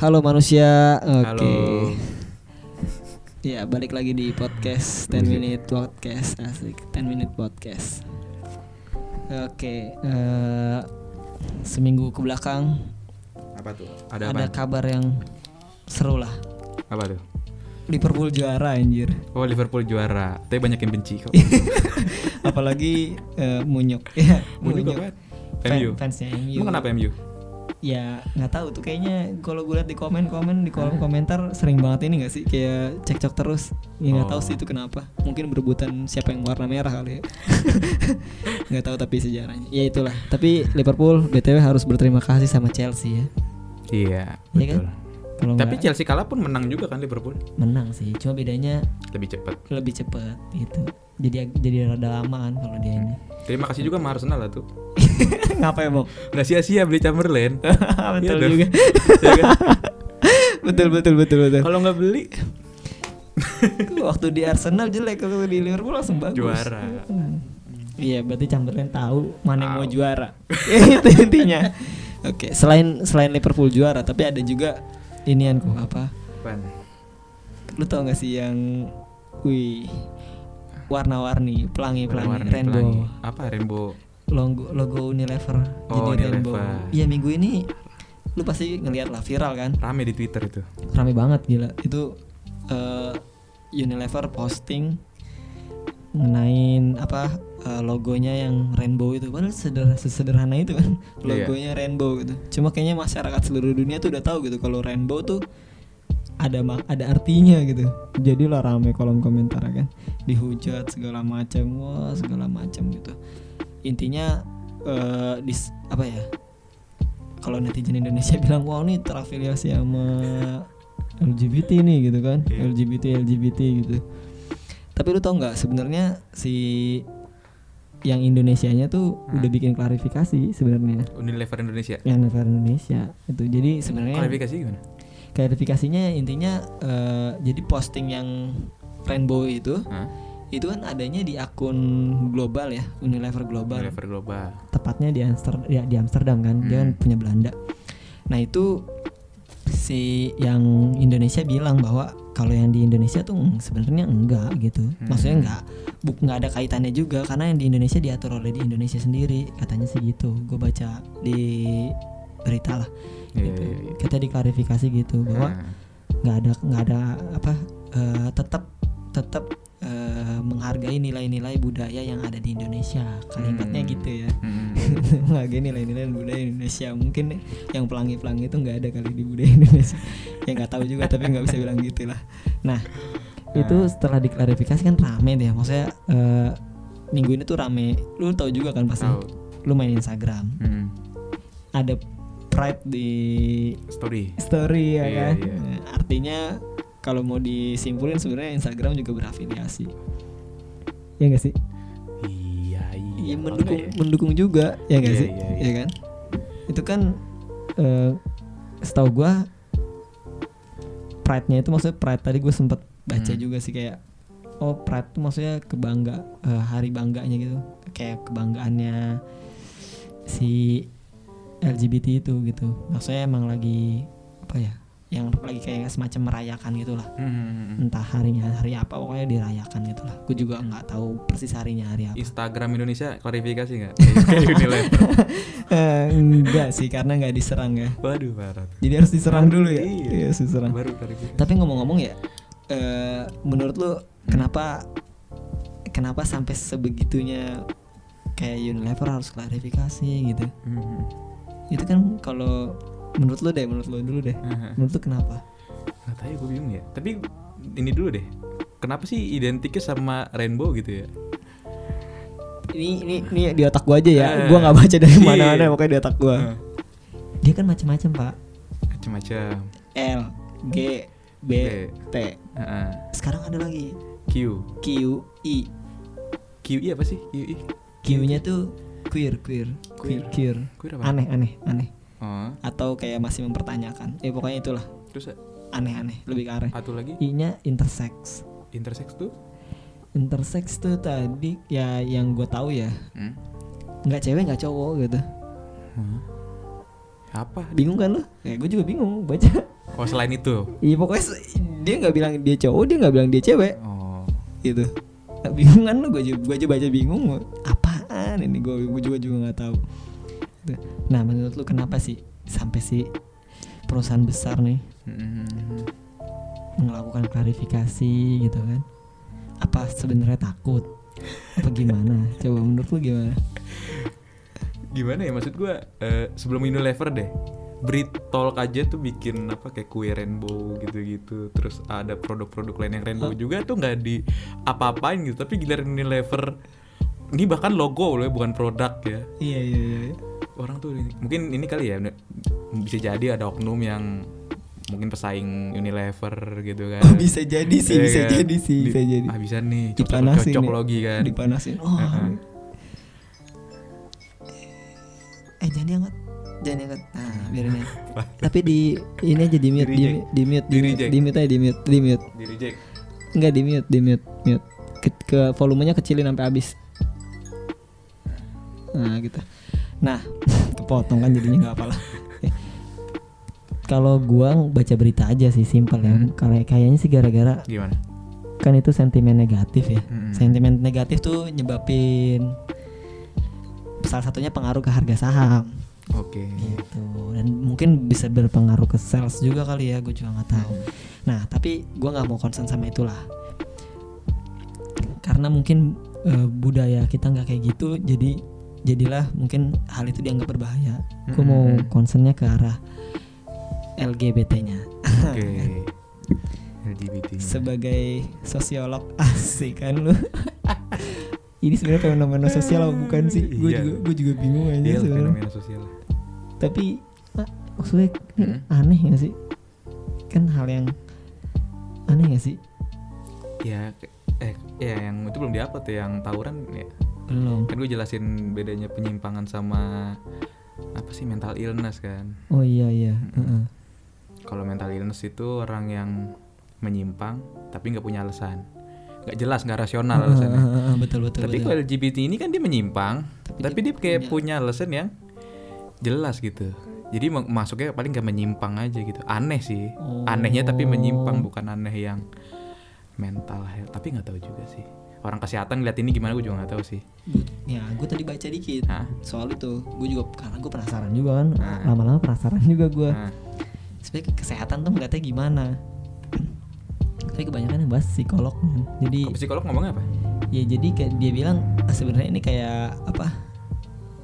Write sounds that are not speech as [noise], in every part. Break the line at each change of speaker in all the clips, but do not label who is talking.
Halo manusia. Oke.
Halo.
Ya, balik lagi di
Iya.
podcast 10 minute podcast. Asik, 10 minute podcast. Oke, eh, seminggu ke belakang
apa tuh
Ada apa?
ada kabar yang seru lah.
Apa tuh?
Liverpool juara
[laughs]
anjir.
Oh Liverpool juara. Tapi banyak yang benci [laughs] kok.
Apalagi eh, [laughs] Munyok. Ya,
Mau juga banget.
Fan-
MU.
fansnya MU.
Emang kenapa MU?
ya nggak tahu tuh kayaknya kalau gue liat di komen komen di kolom komentar sering banget ini nggak sih kayak cekcok terus ya nggak tahu
Oh.
sih itu kenapa mungkin berebutan siapa yang warna merah kali ya [laughs] nggak tahu tapi sejarahnya ya itulah tapi Liverpool btw harus berterima kasih sama Chelsea ya
Iya,
Iya kan?
betul.
kalau
Tapi
nggak
Chelsea kalah pun menang juga kan Liverpool.
menang sih cuma bedanya
Lebih cepat.
lebih cepet gitu jadi ag- jadi rada lamaan kalau dia ini
Terima kasih juga sama Arsenal lah tuh.
ngapain mau
Nggak sia-sia beli Chamberlain.
[laughs] betul
dong.
juga
[laughs] Iya kan?
betul betul betul betul
[laughs] Kalau nggak beli
waktu di Arsenal jelek kalau di Liverpool langsung bagus
juara.
Hmm. Iya, berarti Chamberlain tahu mana yang mau
Tahu. [laughs]
juara. Ya, itu intinya. Oke, selain selain Liverpool juara, tapi ada juga inian kok apa?
Pan.
Lu tau gak sih yang wih warna-warni, pelangi-pelangi,
Warna
rainbow,
pelangi. Apa rainbow?
logo logo Unilever
Oh,
jadi rainbow.
Unilever.
Iya, minggu ini lu pasti ngelihat lah viral kan?
Rame di Twitter itu.
Rame banget gila. Itu eh, Unilever posting ngenain apa eh, logonya yang rainbow itu padahal sederhana sesederhana itu kan
Iya.
logonya rainbow gitu cuma kayaknya masyarakat seluruh dunia tuh udah tahu gitu kalau rainbow tuh ada ma- ada artinya gitu jadilah rame kolom komentar kan dihujat segala macam wah segala macam gitu intinya eh dis- apa ya kalau netizen Indonesia [laughs] bilang wah ini terafiliasi sama LGBT nih gitu kan
Iya.
LGBT LGBT gitu tapi lu tau nggak sebenarnya si yang Indonesianya tuh
Hah?
udah bikin klarifikasi sebenarnya
Unilever Indonesia.
yang negara Indonesia itu jadi sebenarnya
Klarifikasi gimana?
klarifikasinya intinya eh, jadi posting yang rainbow itu
Hah?
itu kan adanya di akun global ya Unilever global
Unilever Global.
tepatnya di Amsterdam ya, di Amsterdam kan dia kan
Hmm.
punya Belanda nah itu si yang Indonesia bilang bahwa kalau yang di Indonesia tuh mm, sebenarnya enggak gitu
Hmm.
maksudnya enggak buk nggak ada kaitannya juga karena yang di Indonesia diatur oleh di Indonesia sendiri katanya sih gitu gue baca di berita lah
Iya,
gitu.
iya, iya.
kita diklarifikasi gitu bahwa
Nah,
nggak ada nggak ada apa eh, tetap tetap eh, menghargai nilai-nilai budaya yang ada di Indonesia kalimatnya
Hmm.
gitu ya
mm,
[laughs] menghargai nilai-nilai budaya Indonesia mungkin yang pelangi-pelangi itu nggak ada kali di budaya Indonesia ya nggak tahu juga tapi nggak bisa bilang gitu lah nah itu
Nah.
setelah diklarifikasi kan rame deh maksudnya eh, minggu ini tuh rame lu tahu juga kan pasti
Tahu.
lu main Instagram
Mm.
ada pride di
Story.
story ya
Iya,
kan
iya.
Nah, artinya kalau mau disimpulin sebenarnya Instagram juga berafiliasi ya nggak sih
Iya, iya.
Iya mendukung
makanya.
mendukung juga ya nggak
Iya,
sih
iya, iya.
ya kan itu kan eh setahu gua pride-nya itu maksudnya pride tadi gue sempet baca
Hmm.
juga sih kayak oh pride itu maksudnya kebangga eh, hari bangganya gitu kayak kebanggaannya si LGBT itu gitu maksudnya emang lagi apa ya yang lagi kayak semacam merayakan gitulah
Mm.
entah harinya hari apa pokoknya dirayakan gitulah gue juga
Hmm.
nggak tahu persis harinya hari
Iya,
apa
Instagram Indonesia klarifikasi nggak?
[laughs]
Kayak Unilever.
Eh, enggak sih karena nggak diserang ya
Waduh parah. tuh.
jadi harus diserang dulu ya
Iya.
Iya, harus diserang
Baru klarifikasi.
tapi ngomong-ngomong ya eh, menurut lu kenapa kenapa sampai sebegitunya kayak Unilever harus klarifikasi gitu
Mhm.
itu kan kalau menurut lu deh menurut lu dulu deh
Aha.
menurut lu kenapa
Nggak tahu gue bingung ya. Tapi ini dulu deh. Kenapa sih identiknya sama rainbow gitu ya?
ini ini ini di otak gua aja ya
Eh.
gua nggak baca dari
Iya.
mana-mana pokoknya di otak gua
Heeh.
dia kan macam-macam pak
Macam-macam.
L G B T
Heeh.
sekarang ada lagi
Q.
Q I
QI apa sih? QI.
Q-nya tuh queer, queer, queer, queer.
Queer apa?
Aneh, aneh, aneh.
Oh.
Atau kayak masih mempertanyakan. Ya pokoknya itulah
Terus eh,
aneh-aneh, lebih ke arah.
satu lagi
I-nya intersex.
intersex tuh?
Intersex tuh tadi ya yang gue tahu ya
Hmm.
nggak cewek nggak cowok gitu
Hah? Apa?
bingung kan lo ya gue juga bingung baca [laughs]
Oh selain itu.
iya pokoknya se- dia nggak bilang dia cowok dia nggak bilang dia cewek
Oh.
gitu Nah, bingung kan lo gue aja gue aja baca bingung gua, apaan ini gue gue juga juga nggak tahu Gitu. nah menurut lu kenapa sih sampai si perusahaan besar nih
Mm.
melakukan klarifikasi gitu kan apa sebenarnya takut apa [laughs] gimana coba menurut lu gimana
Gimana ya maksud gua eh, sebelum Unilever deh. Britolk aja tuh bikin apa kayak kue rainbow gitu-gitu. Terus ada produk-produk lain yang rainbow juga tuh nggak di apa-apain gitu. Tapi giliran Unilever ini bahkan logo loh ya, bukan produk ya.
iya iya iya
orang tuh ini- mungkin ini kali ya bener- bisa jadi ada oknum yang mungkin pesaing Unilever gitu kan
Oh, bisa jadi sih
Iya
bisa
kan?
jadi sih
Di-
bisa jadi
ah bisa nih cocok,
dipanasin
cocok
nih.
lagi kan
dipanasin oh
Heeh.
eh jangan diangkat jangan diangkat nah biarin
[laughs]
aja tapi di ini aja di mute di,
Di-reject.
di mute di mute
Di-reject.
di mute aja di mute di mute
di reject
enggak di mute di mute mute ke, ke volumenya kecilin sampai habis nah gitu nah [laughs] kepotong kan jadinya nggak apalah Oke. kalau gua baca berita aja sih simpel ya
Hmm.
Kayak- kayaknya sih gara-gara
gimana
kan itu sentimen negatif ya
Mm-mm.
sentimen negatif tuh nyebabin salah satunya pengaruh ke harga saham
oke
gitu dan mungkin bisa berpengaruh ke sales juga kali ya gue juga nggak tahu
Hmm.
nah tapi gue nggak mau concern sama itulah karena mungkin eh, budaya kita nggak kayak gitu jadi jadilah mungkin hal itu dianggap berbahaya gue mau
Mm-mm.
concernnya ke arah LGBT-nya
oke LGBT
sebagai sosiolog [laughs] asik kan lu [laughs] ini sebenarnya fenomena sosial apa bukan sih gue
Iya.
juga gue juga bingung
Iya,
aja sebenarnya
fenomena sosial
tapi ah, maksudnya ini
Hmm.
aneh gak sih kan hal yang aneh gak sih
ya ke- eh ya yang itu belum diupload ya yang tawuran ya
belum
kan gue jelasin bedanya penyimpangan sama apa sih mental illness kan
oh iya iya heeh.
Kalau mental illness itu orang yang menyimpang tapi nggak punya alasan, nggak jelas, nggak rasional
Heeh,
alasannya.
heeh, heeh, betul betul
Tapi
betul.
kalau LGBT ini kan dia menyimpang,
Tapi
tapi,
dia
dia kayak punya alasan yang jelas gitu. Jadi ma- masuknya paling nggak menyimpang aja gitu. Aneh sih, anehnya tapi menyimpang bukan aneh yang mental health. Tapi nggak tahu juga sih. Orang kesehatan lihat ini gimana gue juga nggak tahu sih.
Gua- ya gue tadi baca dikit
Hah?
soal itu gue juga karena gue penasaran juga kan
Nah.
lama-lama penasaran juga gue
Nah,
sebenarnya kesehatan tuh ngeliatnya gimana tapi kebanyakan yang bahas psikolog kan. jadi
kalau psikolog ngomong apa?
ya jadi kayak dia bilang "Ah, sebenarnya ini kayak apa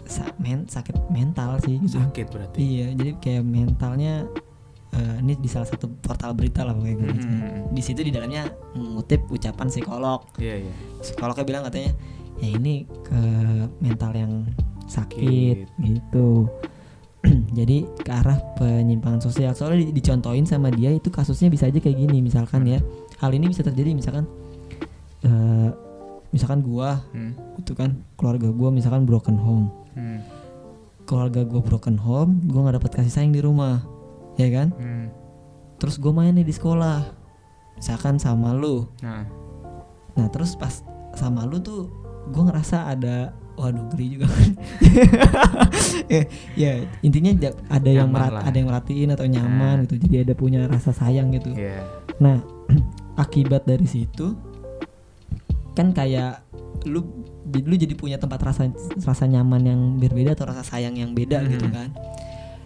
sa- men- sakit mental sih gitu.
Sakit berarti.
iya jadi kayak mentalnya eh, ini di salah satu portal berita lah pokoknya gue baca.
Hmm.
di situ di dalamnya mengutip ucapan psikolog
Iya iya.
psikolognya bilang katanya ya ini ke mental yang sakit
Sakit.
gitu [clears throat] jadi ke arah penyimpangan sosial soalnya di- dicontohin sama dia itu kasusnya bisa aja kayak gini misalkan ya hal ini bisa terjadi misalkan eh, misalkan gua
Hmm.
itu kan keluarga gua misalkan broken home
Hmm.
keluarga gua broken home gua nggak dapat kasih sayang di rumah ya kan
Hmm.
terus gua main nih di sekolah misalkan sama lu
Nah.
Nah terus pas sama lu tuh gue ngerasa ada waduh geli juga [laughs] ya, ya, intinya ja- ada yang
Nyaman
merat-
lah. Nah.
ada yang merhatiin atau nyaman gitu jadi ada punya rasa sayang gitu
Iya.
nah [clears throat] akibat dari situ kan kayak lu jadi lu jadi punya tempat rasa rasa nyaman yang berbeda atau rasa sayang yang beda
Mhm.
gitu kan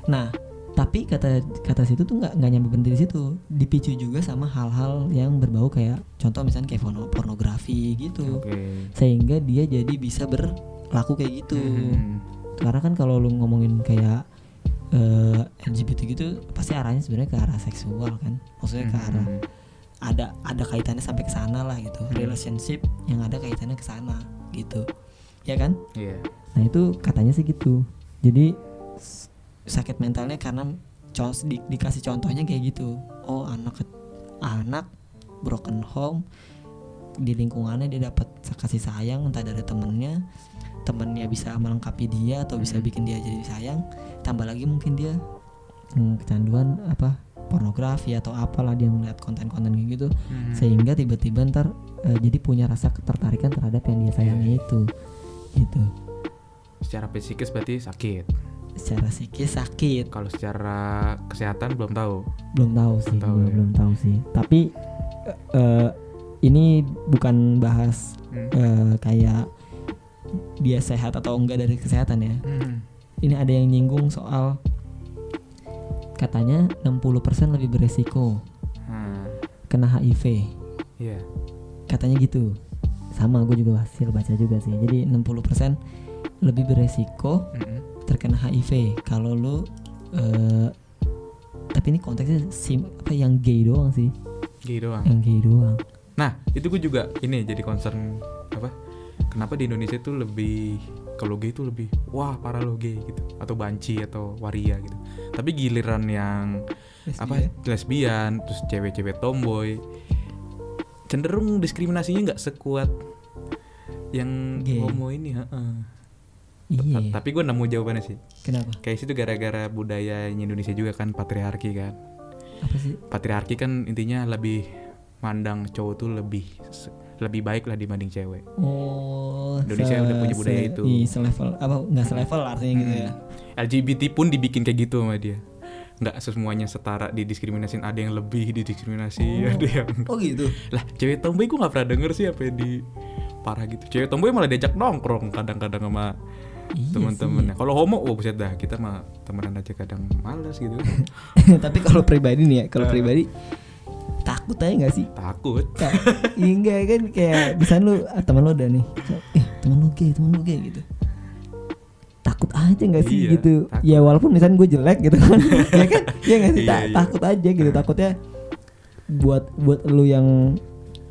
nah tapi kata kata situ tuh nggak nggak nyampe berhenti di situ dipicu juga sama hal-hal yang berbau kayak contoh misalnya kayak porno- pornografi gitu
Oke.
sehingga dia jadi bisa berlaku kayak gitu
Hmm.
karena kan kalau lu ngomongin kayak eh, LGBT gitu pasti arahnya sebenarnya ke arah seksual kan maksudnya ke arah
Hmm.
ada ada kaitannya sampai ke sana lah gitu
Hmm.
relationship yang ada kaitannya ke sana gitu ya kan
Iya.
nah itu katanya sih gitu jadi s- sakit mentalnya karena cons- di- dikasih contohnya kayak gitu oh anak ke- anak broken home di lingkungannya dia dapat kasih sayang entah dari temennya temennya bisa melengkapi dia atau bisa
Mhm.
bikin dia jadi sayang tambah lagi mungkin dia hmm, kecanduan apa pornografi atau apalah dia melihat konten-konten kayak gitu
Hmm.
sehingga tiba-tiba ntar eh,
Iya.
jadi punya rasa ketertarikan terhadap yang dia sayangi itu gitu
secara psikis berarti sakit
secara psikis sakit
kalau secara kesehatan belum tahu
belum tahu sih
Belum tahu
gua
ya.
belum tahu sih tapi eh, ini bukan bahas
Hmm.
eh, kayak dia sehat atau enggak dari kesehatan ya
Hmm.
ini ada yang nyinggung soal katanya 60% lebih beresiko
Hmm.
kena HIV
Iya.
katanya gitu sama gue juga hasil baca juga sih jadi 60% lebih beresiko
Mm-mm.
terkena HIV kalau lu eh, tapi ini konteksnya sim apa yang gay doang sih
Gay doang.
yang gay doang
Nah, itu gue juga ini jadi concern apa? Kenapa di Indonesia itu lebih kalau gay itu lebih wah parah lo gay gitu atau banci atau waria gitu. Tapi giliran yang apa
Iya. ya?
lesbian terus cewek-cewek tomboy cenderung diskriminasinya nggak sekuat yang
Gay.
homo ini. heeh.
iya
Ta- Tapi gue nemu jawabannya sih.
kenapa
Kayak situ gara-gara budaya Indonesia juga kan patriarki kan.
apa sih
patriarki kan intinya lebih mandang cowok tuh lebih lebih baik lah dibanding cewek.
oh
Indonesia udah punya budaya
se-
itu. Hmm.
i, selevel apa nggak selevel lah artinya gitu ya
LGBT pun dibikin kayak gitu sama dia. Nggak semuanya setara didiskriminasin, ada yang lebih didiskriminasi, ada yang
[laughs] oh gitu
lah cewek tomboy gue nggak pernah denger sih apa yang di parah gitu. Cewek tomboy malah diajak nongkrong kadang-kadang sama
Iya
teman-temannya. Kalau homo, wah buset dah kita mah temenan aja kadang males
[laughs]
gitu.
[laughs] tapi kalau pribadi nih ya kalau
Hmm.
pribadi takut aja nggak sih
Takut.
Kayak, iya enggak kan kayak misalnya lu ah, teman lu ada nih kayak, eh teman lu gay teman lu gay gitu takut aja nggak sih
Iya,
gitu
takut.
ya walaupun misalnya gue jelek gitu
[laughs]
kan ya kan ya nggak sih
Iya,
Ta-
iya.
takut aja gitu takutnya buat buat lu yang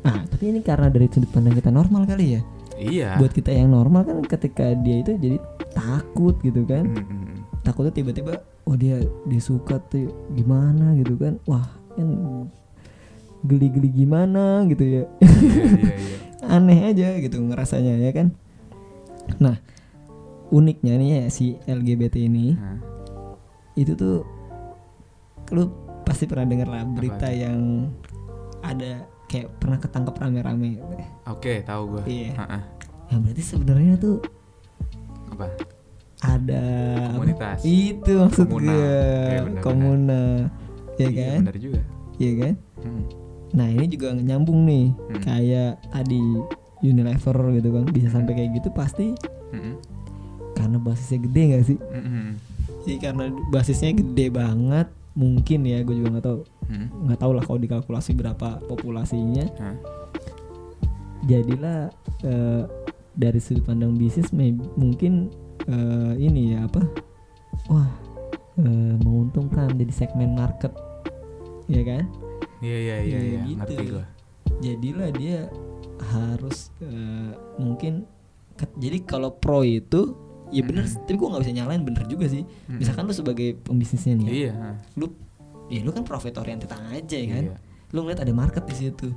ah tapi ini karena dari sudut pandang kita normal kali ya
Iya.
buat kita yang normal kan ketika dia itu jadi takut gitu kan
Mm-mm.
takutnya tiba-tiba oh dia dia suka tuh gimana gitu kan wah kan geli-geli gimana gitu ya [laughs]
Iya, iya, iya.
aneh aja gitu ngerasanya ya kan nah uniknya nih ya si LGBT [laughs] ini
iya. Hah?
itu tuh lu pasti pernah denger lah berita
tuh?
yang ada kayak pernah ketangkep rame-rame gitu.
Oke, tahu gue.
Iya.
Heeh.
ya berarti sebenarnya tuh
Apa?
ada
Komunitas.
itu maksud
Komunal.
gue
Iya, benar-benar.
komuna ya
Iya,
kan
benar juga.
ya kan
Hmm.
Nah ini juga nyambung nih
Hmm.
Kayak tadi Unilever gitu kan Bisa sampai kayak gitu pasti
Mm-mm.
Karena basisnya gede gak sih?
Mm-mm.
Jadi Iya, karena basisnya gede banget Mungkin ya gue juga gak tahu
Mm.
nggak tahu lah kalau dikalkulasi berapa populasinya
Hah?
Jadilah eh, dari sudut pandang bisnis may- Mungkin eh, ini ya apa Wah eh, menguntungkan jadi segmen market Ya kan?
Iya iya iya
Iya,
iya,
gitu.
ngerti gua.
jadilah dia harus eh, mungkin ke- jadi kalau pro itu ya bener
Mm-mm.
tapi gue nggak bisa nyalain bener juga sih
Mm-mm.
misalkan lu sebagai pembisnisnya nih ya,
Iya. hah.
lu ya lu kan profit oriented aja ya kan
Iya.
lu ngeliat ada market di situ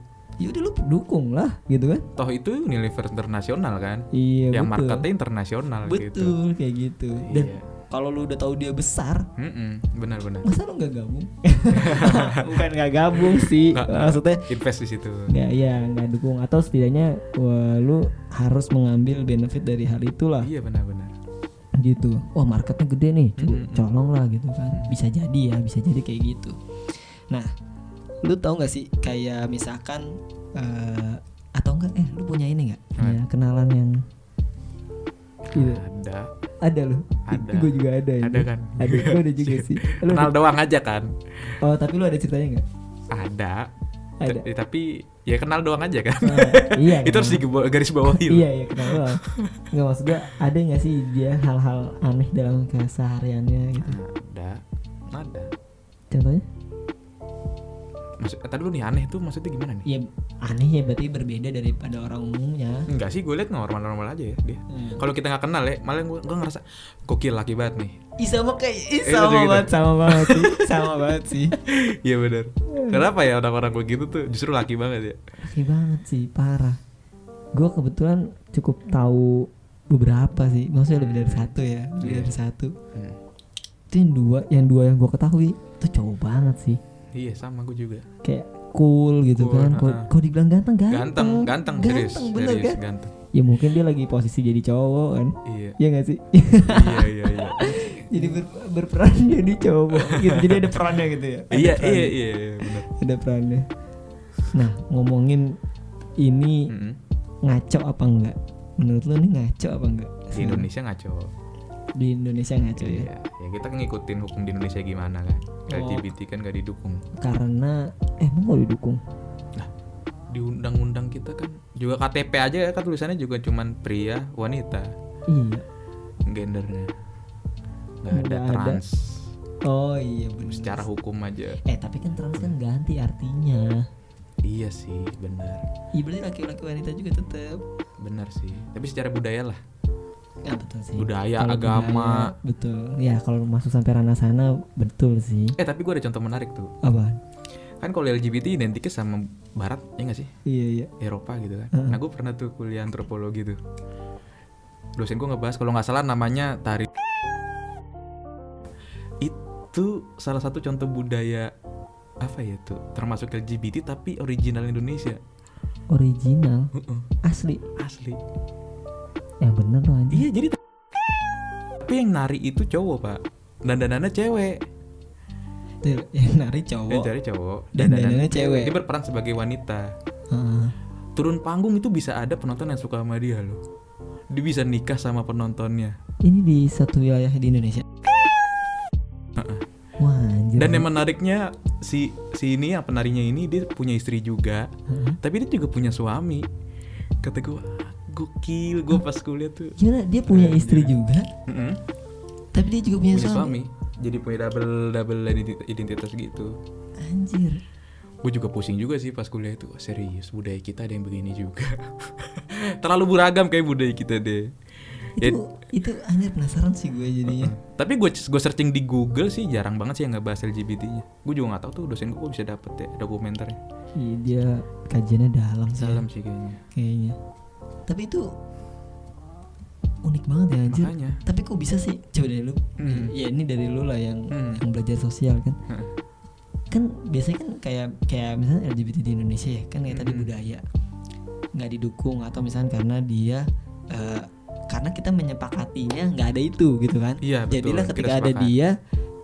ya udah lu dukung lah gitu kan
Toh itu Unilever internasional kan?
iya betul
Yang marketnya internasional gitu.
betul kayak gitu dan
Iya.
kalau lu udah tahu dia
[laughs]
besar
Mm-mm, Hmm, benar
[laughs]
benar.
masa lu nggak
[laughs]
gabung bukan nggak gabung sih
Nggak, nggak.
maksudnya
Invest di situ.
nggak ya nggak dukung atau setidaknya wah, lu harus mengambil benefit dari hal itulah
Iya benar benar.
gitu wah marketnya gede nih co-
Mm-mm.
colong lah gitu kan bisa jadi ya bisa jadi kayak gitu nah lu tahu nggak sih kayak misalkan eh, atau enggak eh lu punya ini nggak
Apa?
ya kenalan yang gitu.
Ada
ada lu
Ada.
gue juga ada ini.
ada kan?
ada gue ada
[laughs]
juga sih Lu
Kenal
ada-
doang aja kan?
oh tapi lu ada ceritanya nggak
Ada.
Ada.
T- Tapi ya kenal doang aja kan?
Ah, iya
[laughs] itu harus digaris bawahi.
iya iya kenal doang nggak maksud gue ada nggak sih dia hal-hal aneh dalam kesehariannya gitu
Ada. Ada.
contohnya
Maksud, tadi lu nih aneh tuh maksudnya gimana nih?
ya aneh ya berarti berbeda daripada orang umumnya
Enggak sih, gue liat normal-normal aja ya dia.
Hmm.
Kalau kita nggak kenal ya, malah gue, gue ngerasa gokil laki banget
[laughs]
nih.
Ih sama kayak ih,
Eh,
sama
gitu, gitu.
banget sama banget
[laughs]
sih sama banget sih
Iya benar. Kenapa ya orang-orang begitu tuh justru laki banget ya?
Oke banget sih parah gue kebetulan cukup tahu beberapa sih maksudnya lebih dari satu ya lebih
Iya.
dari satu itu yang dua yang dua yang gue ketahui itu cowok banget sih
Iya sama gue juga.
kayak cool gitu
Cool,
kan Kok-
ah.
kok dibilang ganteng ganteng
Ganteng, ganteng, serius,
bener
serius
kan
ganteng.
ya mungkin dia lagi posisi jadi cowok kan [laughs]
iya
ya nggak sih
[laughs] iya iya iya
jadi ber- berperan [laughs] jadi cowok gitu jadi ada perannya gitu ya Ada
iya
perannya.
iya iya iya, benar
ada perannya nah ngomongin ini
Mm-mm.
ngaco apa enggak menurut lu nih ngaco apa enggak
di Indonesia ngaco
di Indonesia ngaco ya
iya ya kita ngikutin hukum di Indonesia gimana kan
Oh.
LGBT kan gak didukung
karena eh, emang mau didukung
di undang-undang kita kan juga KTP aja kan tulisannya juga cuman pria wanita
iya
gendernya nggak ada
Nggak ada.
trans
oh iya benar
secara hukum aja
eh tapi kan trans kan ganti artinya
iya sih benar
iya berarti laki-laki wanita juga tetap
benar sih tapi secara budaya lah
ya betul sih
budaya
Kalau
agama
budaya, betul ya kalau masuk sampai ranah sana betul sih
eh tapi gue ada contoh menarik tuh
apa
kan kalau LGBT identiknya sama barat ya nggak sih
iya iya
Eropa gitu kan
Heeh.
nah gue pernah tuh kuliah antropologi tuh dosen gue ngebahas kalau nggak salah namanya tari itu salah satu contoh budaya apa ya tuh termasuk LGBT tapi original Indonesia
original
Heeh,
asli
asli
yang bener loh anjing
Iya jadi Tapi yang nari itu cowok pak Dandanannya cewek
Tuh, [laughs] yang nari
Yang
cowok
cari cowok
Dan dandanannya cewek.
Dia berperan sebagai wanita
Ah.
Turun panggung itu bisa ada penonton yang suka sama dia loh Dia bisa nikah sama penontonnya
Ini di satu wilayah di Indonesia. Wah, anjir.
Dan yang menariknya si, si ini yang penarinya ini dia punya istri juga
Heeh.
Tapi dia juga punya suami Kata gue "Wah, gokil gue pas kuliah tuh
Gimana dia punya istri juga,
Mm-mm.
tapi dia juga punya,
Punya
Iya, suami.
suami Jadi punya double double identi- identitas gitu
Anjir.
gue juga pusing juga sih pas kuliah itu Wah, serius budaya kita ada yang begini juga [laughs] terlalu beragam kayak budaya kita deh Ya,
Itu itu anjir penasaran sih gue jadinya.
tapi gue gue searching di Google sih jarang banget sih yang ngebahas LGBT-nya gue juga nggak tahu tuh dosen gue kok bisa dapet ya dokumenternya
Iya, dia kajiannya dalam sih
salam sih kayaknya
kayaknya. Tapi itu unik banget ya anjir.
makanya [laughs]
Tapi kok bisa sih? Coba dari lu.
Hmm.
Ya ini dari lu lah yang
Hmm.
yang belajar sosial kan.
Heeh.
kan biasanya kan kayak kayak misalnya LGBT di Indonesia ya kan kayak tadi
Mm-mm.
budaya nggak didukung atau misalnya karena dia eh, karena kita menyepakatinya nggak ada itu gitu kan
iya betul
jadilah
kita
ketika ada
sepakat.
dia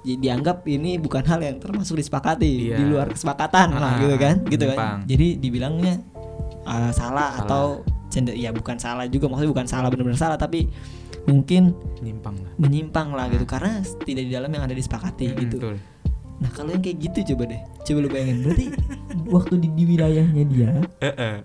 ya dianggap ini bukan hal yang termasuk disepakati
Iya.
di luar kesepakatan lah
Ah,
gitu kan gitu
menyimpang.
kan jadi dibilangnya eh, salah,
Salah.
atau cender ya bukan salah juga maksudnya bukan salah benar-benar salah tapi mungkin
nyimpang lah
menyimpang lah gitu karena tidak di dalam yang ada disepakati
Hmm. Mm-mm,
gitu
betul.
Nah kalau yang kayak gitu coba deh Coba lu bayangin
[laughs]
Berarti waktu di, di wilayahnya dia
Eh, eh.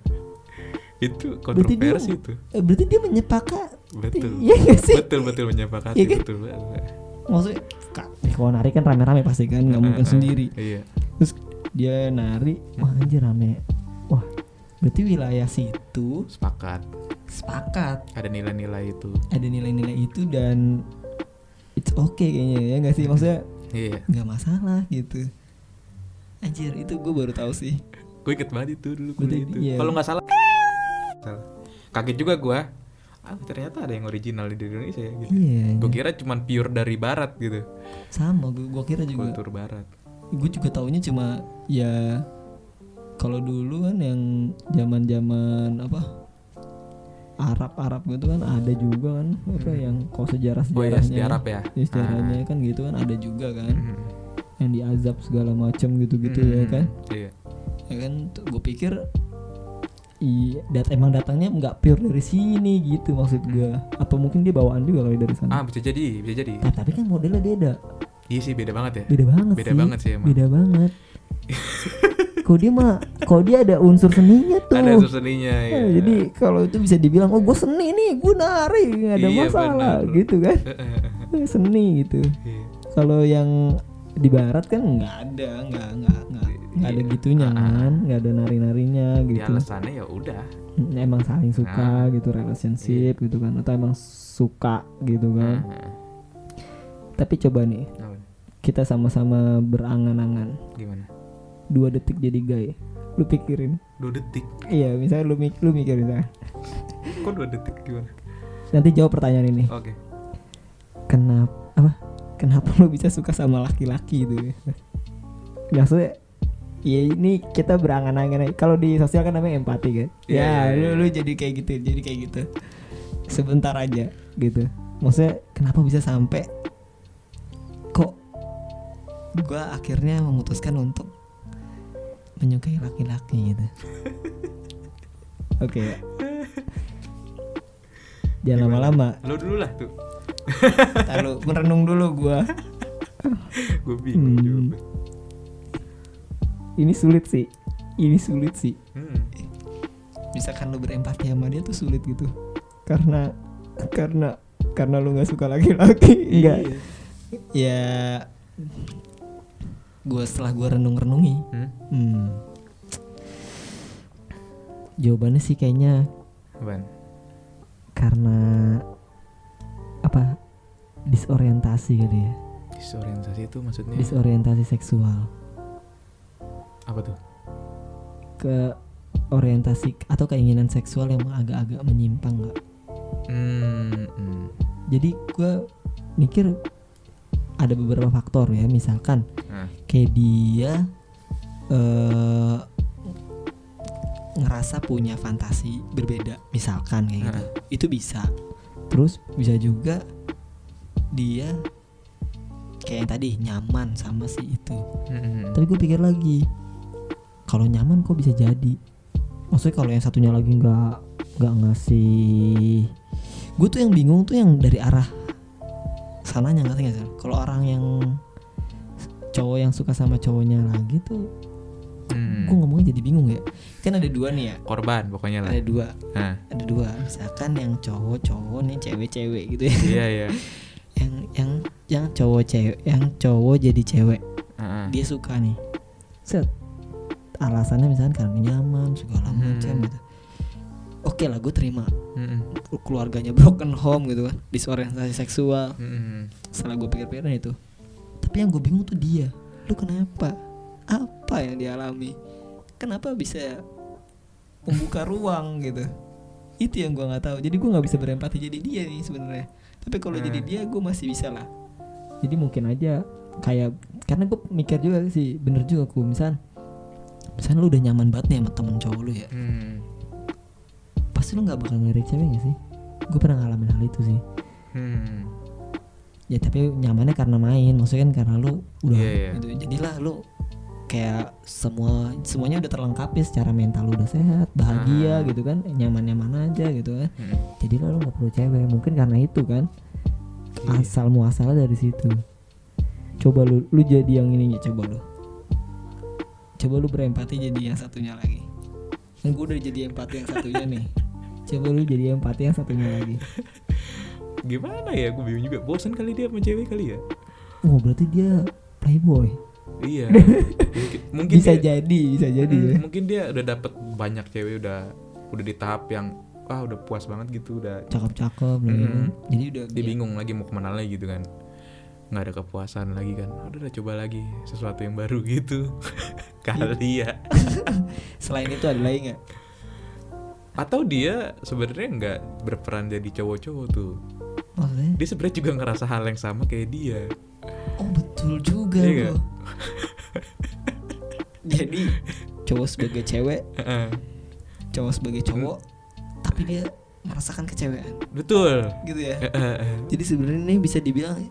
itu
Berarti dia-
kontroversi itu
eh, Berarti dia menyepakat
betul
Iya nggak sih?
betul betul menyepakati
Iya kan?
betul banget.
Maksudnya Kak, eh, Kalau nari kan rame-rame pasti kan Gak mungkin
Eh, eh,
sendiri
iya
Terus dia nari Wah anjir rame Wah berarti wilayah situ
sepakat
Sepakat
ada nilai-nilai itu
Ada nilai-nilai itu dan It's okay kayaknya ya nggak sih Maksudnya
iya
nggak masalah gitu Anjir itu gue baru tahu sih
gue inget banget itu dulu kuliah
Betul,
itu
iya.
kalau nggak salah salah. kaget juga gue ah ternyata ada yang original di Indonesia ya gitu
Iya
gue kira cuman pure dari barat gitu
Sama gue Iya, gua kira juga
kultur barat Iya,
gue juga taunya cuma ya kalau dulu kan yang zaman zaman apa Arab Arab gitu kan ada juga kan apa
Hmm.
yang kalau sejarah
gue ya
sejarahnya
di Arab ya
ya sejarahnya kan gitu kan ada juga
Ah.
kan
Mm-mm.
yang diazab segala macam gitu gitu ya
Mm-mm.
kan
iya
ya kan gue pikir Iya, dat emang datangnya nggak pure dari sini gitu maksud gue. Atau mungkin dia bawaan juga kali dari
Hmm. ah
sana.
bisa jadi bisa jadi
Nah, tapi kan modelnya beda,
iya sih beda banget ya
beda banget
beda
sih.
banget sih emang
beda
[laughs]
banget kok dia mah kok dia ada unsur seninya tuh
ada unsur seninya
Nah,
ya.
jadi kalau itu bisa dibilang oh gue seni nih gue nari nggak ada
Iya,
masalah
benar.
gitu kan [laughs]
Eh, eh, eh,
Eh, seni gitu
iya.
kalau yang di barat kan nggak ada nggak nggak nggak nggak ada
Iya.
gitunya
Ah, ah.
kan nggak ada nari narinya
Di
gitu
alasannya ya udah
Mm, emang saling
Nah,
suka gitu
iya.
relationship gitu kan atau emang suka gitu kan
Ah,
tapi coba nih
ah. Apa?
kita sama-sama berangan-angan
gimana
dua detik jadi gay lu pikirin
dua detik
Iya, misalnya lu, mik lu mikir misalnya.
kok dua detik gimana
Nanti jawab pertanyaan ini.
oke
Kenapa apa? Kenapa lu bisa suka sama laki-laki itu? Maksudnya ya ini kita berangan-angan aja. kalau di sosial kan namanya empati kan
Iya,
ya
iya,
lu lu jadi kayak gitu jadi kayak gitu sebentar aja gitu maksudnya kenapa bisa sampai kok gua akhirnya memutuskan untuk menyukai laki-laki
[laughs]
gitu oke jangan lama-lama
Lo dulu lah tuh.
taruh merenung dulu gua
Gue bingung
Hmm.
jawabnya.
ini sulit sih ini sulit sih
Hmm.
misalkan lu berempati sama dia tuh sulit gitu karena karena karena lu nggak suka laki-laki enggak
Iya.
ya gue setelah gue renung-renungi
Hmm?
hmm, jawabannya sih kayaknya
Apaan?
karena apa disorientasi kali ya
Disorientasi itu maksudnya
disorientasi seksual
apa tuh?
ke orientasi atau keinginan seksual yang agak-agak menyimpang nggak
Hmm, hmm.
jadi gue mikir ada beberapa faktor ya misalkan
Nah,
kayak dia eh ngerasa punya fantasi berbeda misalkan kayak gitu
Heeh.
itu bisa terus bisa juga dia kayak yang tadi nyaman sama si itu
hmm, hmm, hmm.
tapi gue pikir lagi kalau nyaman kok bisa jadi maksudnya kalau yang satunya lagi nggak nggak ngasih gue tuh yang bingung tuh yang dari arah sananya nggak sih nggak sih? kalau orang yang cowok yang suka sama cowoknya lagi tuh
Hmm.
gue ngomongnya jadi bingung ya kan ada dua nih ya
Korban pokoknya lah.
ada dua
Nah,
ada dua misalkan yang cowok cowok nih cewek cewek gitu ya
iya iya.
yang yang yang cowok cewek yang cowok jadi cewek
Heeh.
dia suka nih set alasannya misalnya karena nyaman segala
Hmm.
macam gitu oke lah gue terima
Hmm,
keluarganya broken home gitu kan disorientasi seksual
hmm, hmm.
setelah gue pikir-pikir itu tapi yang gue bingung tuh dia lu kenapa apa yang dialami kenapa bisa membuka ruang gitu itu yang gue nggak tahu jadi gue nggak bisa berempati jadi dia nih sebenarnya tapi kalau jadi
Hmm.
dia gue masih bisa lah Nah. jadi mungkin aja kayak karena gue mikir juga sih bener juga aku misal misalnya lu udah nyaman banget nih sama temen cowok lu ya
Hmm.
pasti lu nggak bakal ngelirik cewek gak sih gue pernah ngalamin hal itu sih
Hmm.
ya tapi nyamannya karena main maksudnya kan karena lu udah
Iya, iya.
gitu jadilah lu kayak semua semuanya udah terlengkapi secara mental lu udah sehat bahagia
Ah.
gitu kan nyaman nyaman aja gitu kan
Hmm.
jadilah lu nggak perlu cewek mungkin karena itu kan
Iya.
asal muasalnya dari situ coba lu lu jadi yang ininya coba lu coba lu berempati jadi yang satunya lagi kan gue udah jadi empati yang satunya
[laughs]
nih coba lu jadi empati yang satunya lagi
Gimana ya? Gue bingung juga. Bosan kali dia sama cewek kali ya?
oh berarti dia playboy [laughs]
Iya. mungkin, mungkin
bisa
dia-
jadi bisa jadi
Hmm,
ya.
mungkin dia udah dapet banyak cewek udah udah di tahap yang wah udah puas banget gitu udah
cakep-cakep
Mm.
gitu. jadi udah
dia bingung lagi mau kemana lagi gitu kan nggak ada kepuasan lagi kan udah udah coba lagi sesuatu yang baru [laughs] gitu kali ya
selain itu ada lagi nggak
atau dia sebenarnya nggak berperan jadi cowok-cowok tuh
maksudnya
dia sebenarnya juga ngerasa hal yang sama kayak dia
oh betul juga
Iya
[laughs]
nggak?
loh jadi cowok sebagai cewek
Heeh.
cowok sebagai cowok tapi dia merasakan kecewean
betul
gitu ya
Heeh.
jadi sebenarnya ini bisa dibilang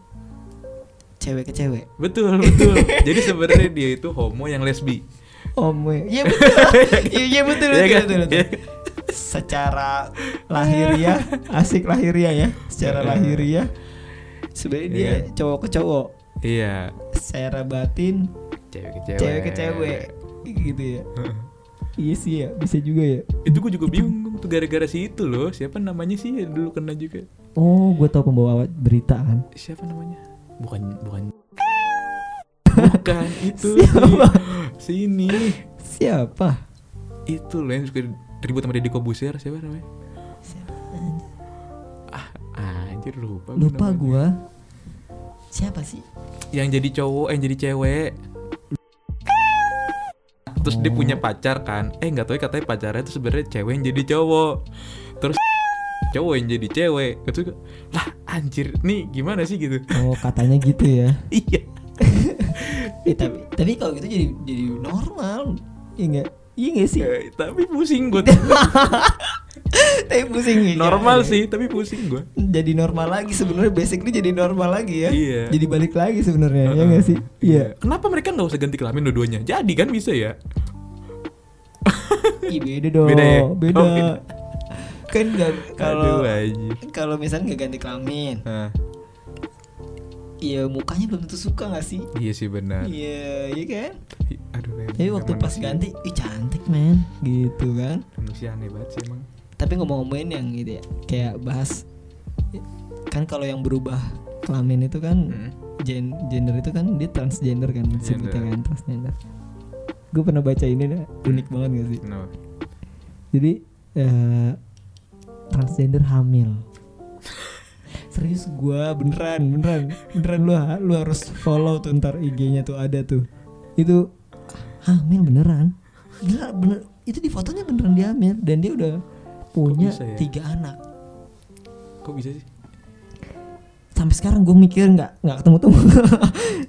cewek ke cewek
betul
[laughs]
betul jadi sebenarnya dia itu homo yang lesbi
om iya betul [laughs] iya iya betul
Iya
betul,
kan?
betul, betul. secara lahiriah asik lahiriah ya secara lahiriah sebenarnya dia
Iya.
cowok ke cowok
iya
secara batin
cewek ke cewek
cewek ke cewek gitu [laughs] ya iya sih ya bisa juga ya
itu gue juga bingung tuh gara-gara si itu loh siapa namanya sih yang dulu kena juga
oh gue tau pembawa berita kan
siapa namanya bukan bukan bukan itu
Siapa?
si, sini
siapa
itu loh yang suka ribut sama Deddy Kobusier siapa namanya ah anjir lupa gua
lupa
namanya.
gue siapa sih
yang jadi cowok yang jadi cewek terus dia punya pacar kan eh nggak tahu ya katanya pacarnya itu sebenarnya cewek yang jadi cowok terus cowok yang jadi cewek itu lah anjir nih gimana sih gitu
oh katanya gitu ya
iya
[laughs] Eh, tapi tapi kalau gitu jadi jadi normal. Iya enggak? Iya enggak sih?
Eh, tapi pusing gue
tapi pusing ya.
normal
Iya.
sih tapi pusing gue
Jadi normal lagi sebenarnya basically jadi normal lagi ya.
Hmm. Iya.
Jadi balik lagi sebenarnya ya enggak sih? Iya.
kenapa mereka nggak usah ganti kelamin dua-duanya jadi kan bisa ya
Ih, beda dong.
Beda
Beda.
ya? Oh, beda.
Kan nggak kalau
aduh eh. anjir
kalau misalnya nggak ganti kelamin,
Hah,
iya mukanya belum tentu suka nggak sih?
iya sih benar
Iya, iya kan?
tapi aduh anjir,
Tapi waktu
Iya, emang
pas kan?
manusia-
ganti, ih cantik men, gitu kan?
manusia aneh banget sih emang
Tapi ngomong-ngomongin yang gitu ya, kayak bahas kan kalau yang berubah kelamin itu kan
Hmm.
gen- gender itu kan dia transgender kan sebutnya
Gender.
kan transgender. Gue pernah baca ini dah unik banget gak sih?
Kenapa?
Jadi eh, transgender hamil. Serius gua beneran beneran beneran lu ha- lu harus follow tuh ntar IG-nya tuh ada tuh. Itu hamil beneran. Bener, bener itu di fotonya beneran dia hamil dan dia udah punya
bisa ya?
tiga anak.
kok bisa sih
Sampai sekarang gue mikir nggak nggak ketemu [laughs] temu.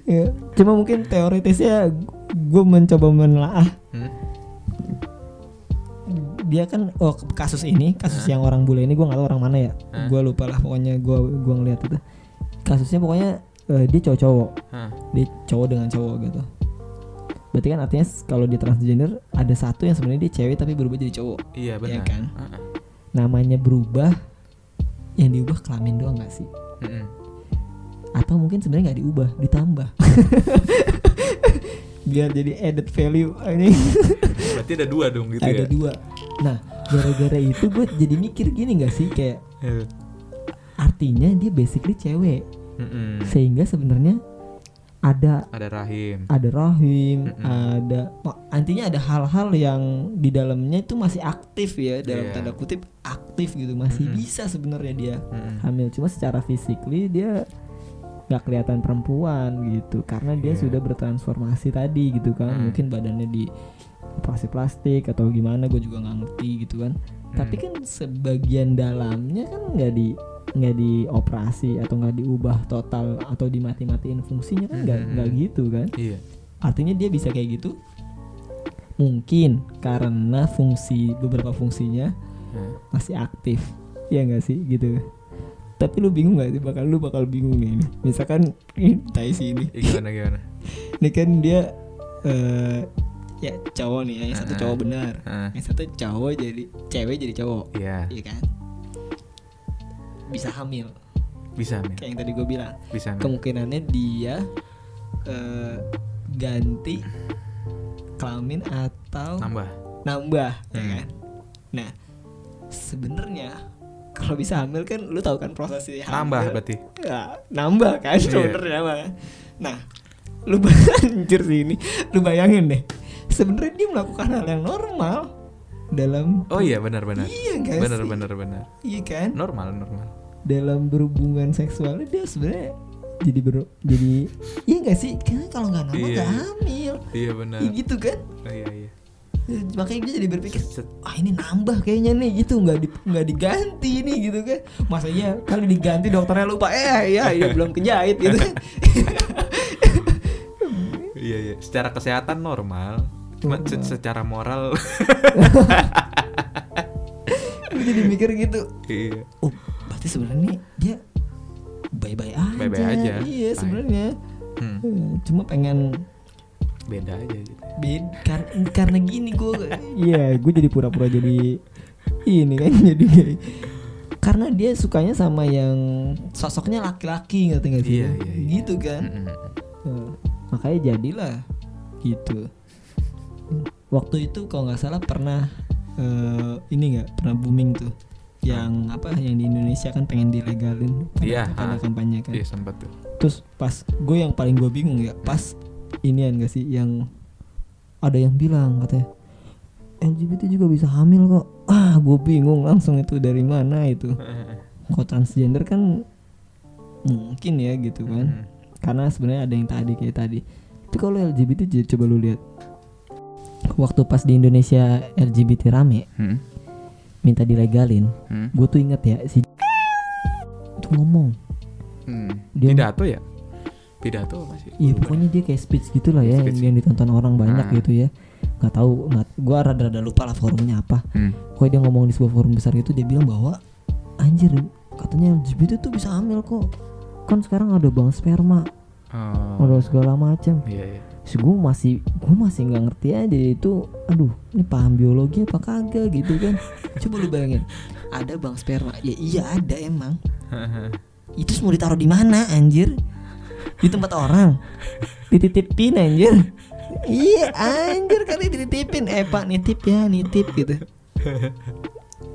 Ya, Cuma mungkin teoritisnya gue mencoba menelaah
Hmm?
dia kan oh kasus ini kasus yang orang bule ini gua nggak tahu orang mana ya
Hah?
gua lupa lah pokoknya gua gua ngeliat itu kasusnya pokoknya eh, dia cowok cowok
Hah,
dia cowok dengan cowok gitu berarti kan artinya s- kalau dia transgender ada satu yang sebenarnya dia cewek tapi berubah jadi cowok Iya
iya benar
kan?
Ah, ah.
namanya berubah yang diubah kelamin doang gak sih
Mm-mm.
atau mungkin sebenarnya nggak diubah ditambah [laughs] biar jadi added value ah, ini
berarti ada dua dong gitu
ada
ya
dua nah gara-gara itu gue jadi mikir gini gak sih kayak
Iya.
artinya dia basically cewek
Mm-mm.
sehingga sebenarnya ada
Hmm. ada rahim
ada rahim
Mm-mm.
ada wah, artinya ada hal-hal yang di dalamnya itu masih aktif ya dalam
Iya.
tanda kutip aktif gitu masih
Mm-mm.
bisa sebenarnya dia
Mm-mm.
hamil cuma secara physically dia nggak kelihatan perempuan gitu karena dia
Iya.
sudah bertransformasi tadi gitu kan
Hmm.
mungkin badannya di operasi plastik atau gimana gue juga nggak ngerti gitu kan tapi
Hmm.
kan sebagian dalamnya kan nggak di nggak dioperasi atau nggak diubah total atau dimati-matiin fungsinya kan nggak
Hmm.
nggak gitu kan
iya
artinya dia bisa kayak gitu mungkin karena fungsi beberapa fungsinya
Hah.
masih aktif ya nggak sih gitu tapi lu bingung nggak sih bakal lu bakal bingung nih ini. misalkan ini tai si ini
Iya, gimana gimana
ini kan dia eh ya cowok nih ya, yang satu
Ah.
cowok benar
Ah,
yang satu cowok jadi cewek jadi cowok
iya
iya kan bisa hamil
bisa men
kayak yang tadi gue bilang
bisa men
kemungkinannya dia eh, ganti kelamin atau
nambah
nambah ya
Hmm.
kan nah sebenarnya kalau bisa hamil kan lu tahu kan prosesnya
nambah
hamil.
berarti
Ya, nambah kan
Iya.
sebenarnya mah nah lu [laughs] ba- anjir sih ini lu bayangin deh sebenarnya dia melakukan hal yang normal dalam
oh iya benar benar
iya nggak
benar
sih?
benar benar
iya kan
normal normal
dalam berhubungan seksualnya dia sebenarnya jadi ber jadi iya nggak sih karena kalau nggak nambah
Iya.
nggak hamil
iya benar
Iya gitu kan
oh, iya iya
Ya, makanya dia jadi berpikir
Set.
ah ini nambah kayaknya nih gitu nggak di, nggak diganti nih gitu kan masa iya kali diganti dokternya lupa eh ya ya belum kejahit gitu [laughs] kan
iya iya secara kesehatan normal cuma se-
Normal.
secara moral [laughs]
Gua jadi mikir gitu
iya
oh berarti sebenarnya nih dia bye-bye aja
Bye-bye aja.
iya
Bye.
sebenarnya
Hmm,
Eh, cuma pengen
beda aja gitu
bed kar- karena gini gue [laughs] iya gue jadi pura-pura jadi ini kan jadi gay. karena dia sukanya sama yang sosoknya laki-laki ngerti nggak sih
Iya, iya, iya.
gitu kan
Mm-mm.
Eh, makanya jadilah gitu waktu itu kalau nggak salah pernah eh, ini nggak pernah booming tuh yang apa yang di Indonesia kan pengen dilegalin Ada-
Iya,
ada
ah.
kampanye kan
iya sempat tuh
terus pas gue yang paling gue bingung ya pas inian gak sih yang ada yang bilang katanya LGBT juga bisa hamil kok ah gue bingung langsung itu dari mana
Kan?
itu
Hmm.
kok transgender kan mungkin ya gitu kan
Mm-mm.
karena sebenarnya ada yang tadi kayak tadi itu kalau LGBT j- coba lu lihat waktu pas di Indonesia LGBT rame
Hmm,
minta dilegalin
hmm,
gue tuh inget ya si itu ngomong
hmm.
Dia-
pidato ya pidato apa sih?
Iya
Lupa
pokoknya dia kayak speech gitu lah ya
Speech.
yang, yang ditonton orang banyak
Ah.
gitu ya nggak tahu nggak gue rada-rada lupa lah forumnya apa
Hmm.
pokoknya dia ngomong di sebuah forum besar itu dia bilang bahwa anjir katanya LGBT tuh bisa hamil kok kan sekarang ada bank sperma
Oh,
ada segala macam
Iya iya.
so, gue masih gue masih nggak ngerti aja itu aduh ini paham biologi apa kagak gitu
[laughs]
kan coba lu bayangin ada bank sperma ya iya ada emang itu semua ditaruh di mana anjir di tempat orang dititipin anjir iya anjir kali dititipin eh pak nitip ya nitip gitu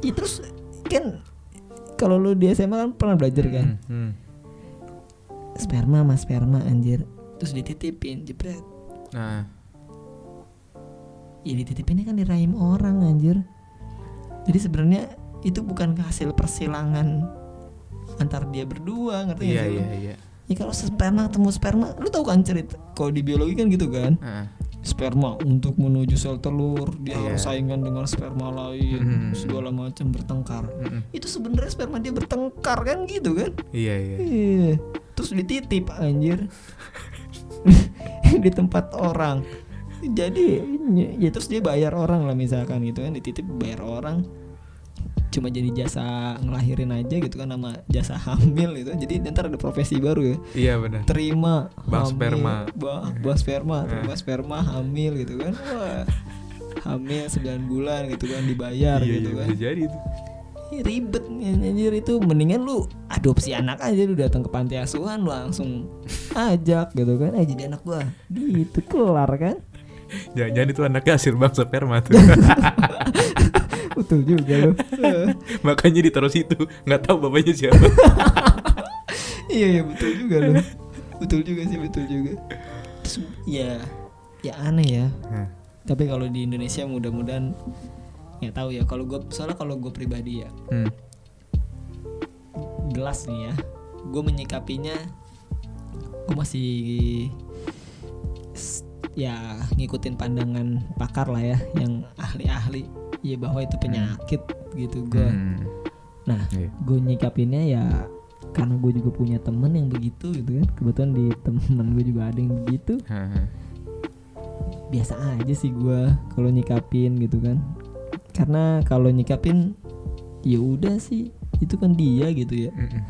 ya, terus kan kalau lu di SMA kan pernah belajar kan
Hmm, hmm.
sperma mas sperma anjir terus dititipin jebret
Nah,
ya dititipinnya kan di rahim orang anjir jadi sebenarnya itu bukan hasil persilangan antar dia berdua ngerti nggak
iya
sih lu?
iya iya.
Ya kalau sperma ketemu sperma, lu tahu kan cerita kalau di biologi kan gitu kan?
Ah,
Sperma untuk menuju sel telur dia
Iya.
harus saingan dengan sperma
Mhm.
lain, segala macam bertengkar.
mm-mm.
Itu sebenarnya sperma dia bertengkar kan gitu kan?
hmm. Iya iya.
Iya. Terus dititip anjir. [laughs] di tempat orang. Jadi ya terus dia bayar orang lah misalkan gitu kan dititip bayar orang cuma jadi jasa ngelahirin aja gitu kan nama jasa hamil gitu jadi ntar ada profesi baru ya
Iya benar.
terima
Bank
hamil,
sperma. Eh.
ba- bank sperma terima sperma hamil gitu kan wah hamil 9 bulan gitu kan dibayar
Iya
gitu
iya
kan
bisa jadi itu.
Ih, ribet nih, anjir itu mendingan lu adopsi anak aja lu datang ke panti asuhan lu langsung ajak gitu kan eh jadi anak gua gitu kelar kan
Jangan-jangan itu anaknya hasil bangsa sperma tuh.
[laughs] betul juga lu Eh,
[laughs] Makanya ditaruh situ. Nggak tahu bapaknya siapa. [laughs]
iya iya betul juga lu betul juga sih betul juga Terus, ya ya aneh ya
Nah,
tapi kalau di Indonesia mudah-mudahan nggak tahu ya kalau gue soalnya kalau gue pribadi ya
hmm.
jelas nih ya gue menyikapinya gue masih s- ya ngikutin pandangan pakar lah ya yang ahli-ahli ya bahwa itu penyakit gitu gue
Hmm.
nah
Iya.
gue nyikapinnya ya karena gue juga punya temen yang begitu gitu kan kebetulan di temen gue juga ada yang begitu
Haha.
biasa aja sih gua kalau nyikapin gitu kan karena kalau nyikapin ya udah sih itu kan dia gitu ya
Mm-mm.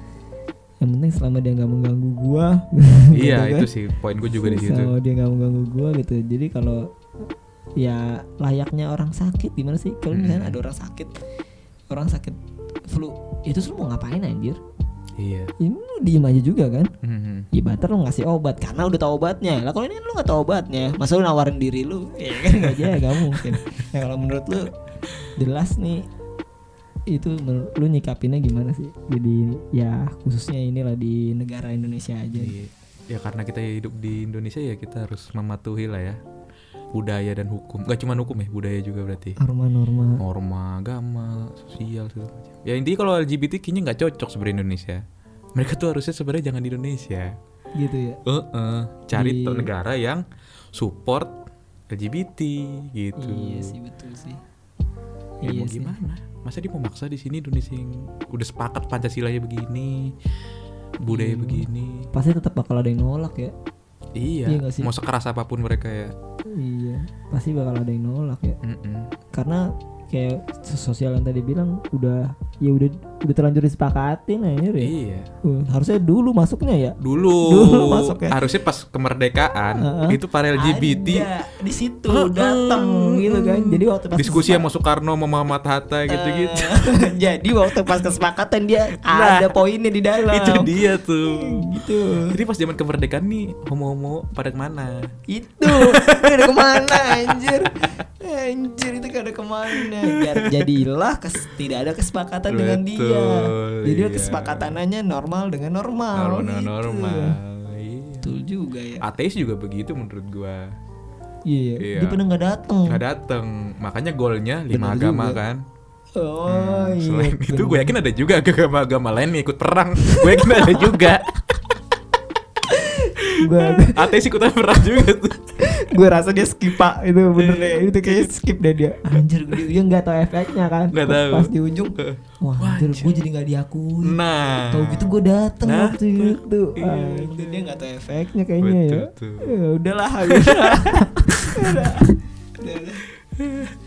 yang penting selama dia nggak mengganggu gua [laughs]
Iya
gitu
itu
kan.
sih poin gue juga di situ.
selama dia nggak mengganggu gua gitu jadi kalau ya layaknya orang sakit gimana sih kalau
Hmm.
misalnya ada orang sakit orang sakit flu itu lu mau ngapain anjir
Iya.
ini lu diem aja juga kan
Mhm.
Ya better lu ngasih obat karena udah tau obatnya. Lah kalau ini kan lu gak tau obatnya, masa lu nawarin diri lu? Ya kan gak aja gak mungkin. Nah kalau menurut lu jelas nih itu menurut lu nyikapinnya gimana sih? Jadi ya khususnya inilah di negara Indonesia aja.
Iya. Ya karena kita hidup di Indonesia ya kita harus mematuhi lah ya budaya dan hukum. Gak cuma hukum ya budaya juga berarti.
Norma-norma.
Norma agama sosial segala macam. Ya intinya kalau LGBT kayaknya nggak cocok sebenarnya Indonesia. Mereka tuh harusnya sebenarnya jangan di Indonesia.
gitu ya.
Eh, eh, cari
Di-
tuh negara yang support LGBT gitu.
Iya sih betul sih.
Ya,
iya
mau
sih.
gimana? Masa dia mau maksa di sini Indonesia yang udah sepakat Pancasila ya begini, budaya
Iya.
begini.
Pasti tetap bakal ada yang nolak ya.
Iya.
Iya nggak sih?
Mau sekeras apapun mereka ya.
Iya, pasti bakal ada yang nolak ya.
Mm-mm.
Karena kayak sosial yang tadi bilang udah ya udah udah terlanjur disepakatin anjir ya.
Iya.
Uh, harusnya dulu masuknya ya
Dulu,
Dulu masuk ya.
harusnya pas kemerdekaan
Heeh.
itu para LGBT
Ada, di situ
Heeh.
datang gitu kan jadi waktu pas
diskusi sama Soekarno, sama Muhammad Hatta gitu-gitu.
[laughs] jadi waktu pas kesepakatan dia
Nah,
ada poinnya di dalam
itu dia tuh.
gitu
Jadi pas zaman kemerdekaan nih homo-homo pada kemana?
itu ini ada kemana anjir anjir itu gak ada kemana Biar- jadilah kes- tidak ada kesepakatan dengan dia
Betul,
jadi
iya.
kesepakatannya normal dengan normal
normal,
gitu.
normal. Iya.
betul juga ya
Ateis juga begitu menurut gua.
iya
Iya.
dia pernah nggak datang
Nggak dateng, makanya golnya lima
Benar
agama
Oh. juga.
kan.
oh iya
Hmm, Selain itu
bener.
gue yakin ada
[laughs]
juga agama-agama lain yang ikut perang. Gue yakin ada juga.
gua
Ateis ikutan berat juga tuh.
gue rasa dia skip pak itu bener deh itu kayaknya skip deh dia anjir
[laughs]
dia dia nggak tahu efeknya kan
Nggak
Pas-
tahu.
pas di ujung wah anjir gue jadi nggak diakui
Nah.
Tahu gitu gue dateng
Nah,
waktu itu.
iya,
Ah, itu dia nggak tahu efeknya kayaknya [laughs] ya.
Betul tuh.
Ya udahlah habis. Udah. Udah.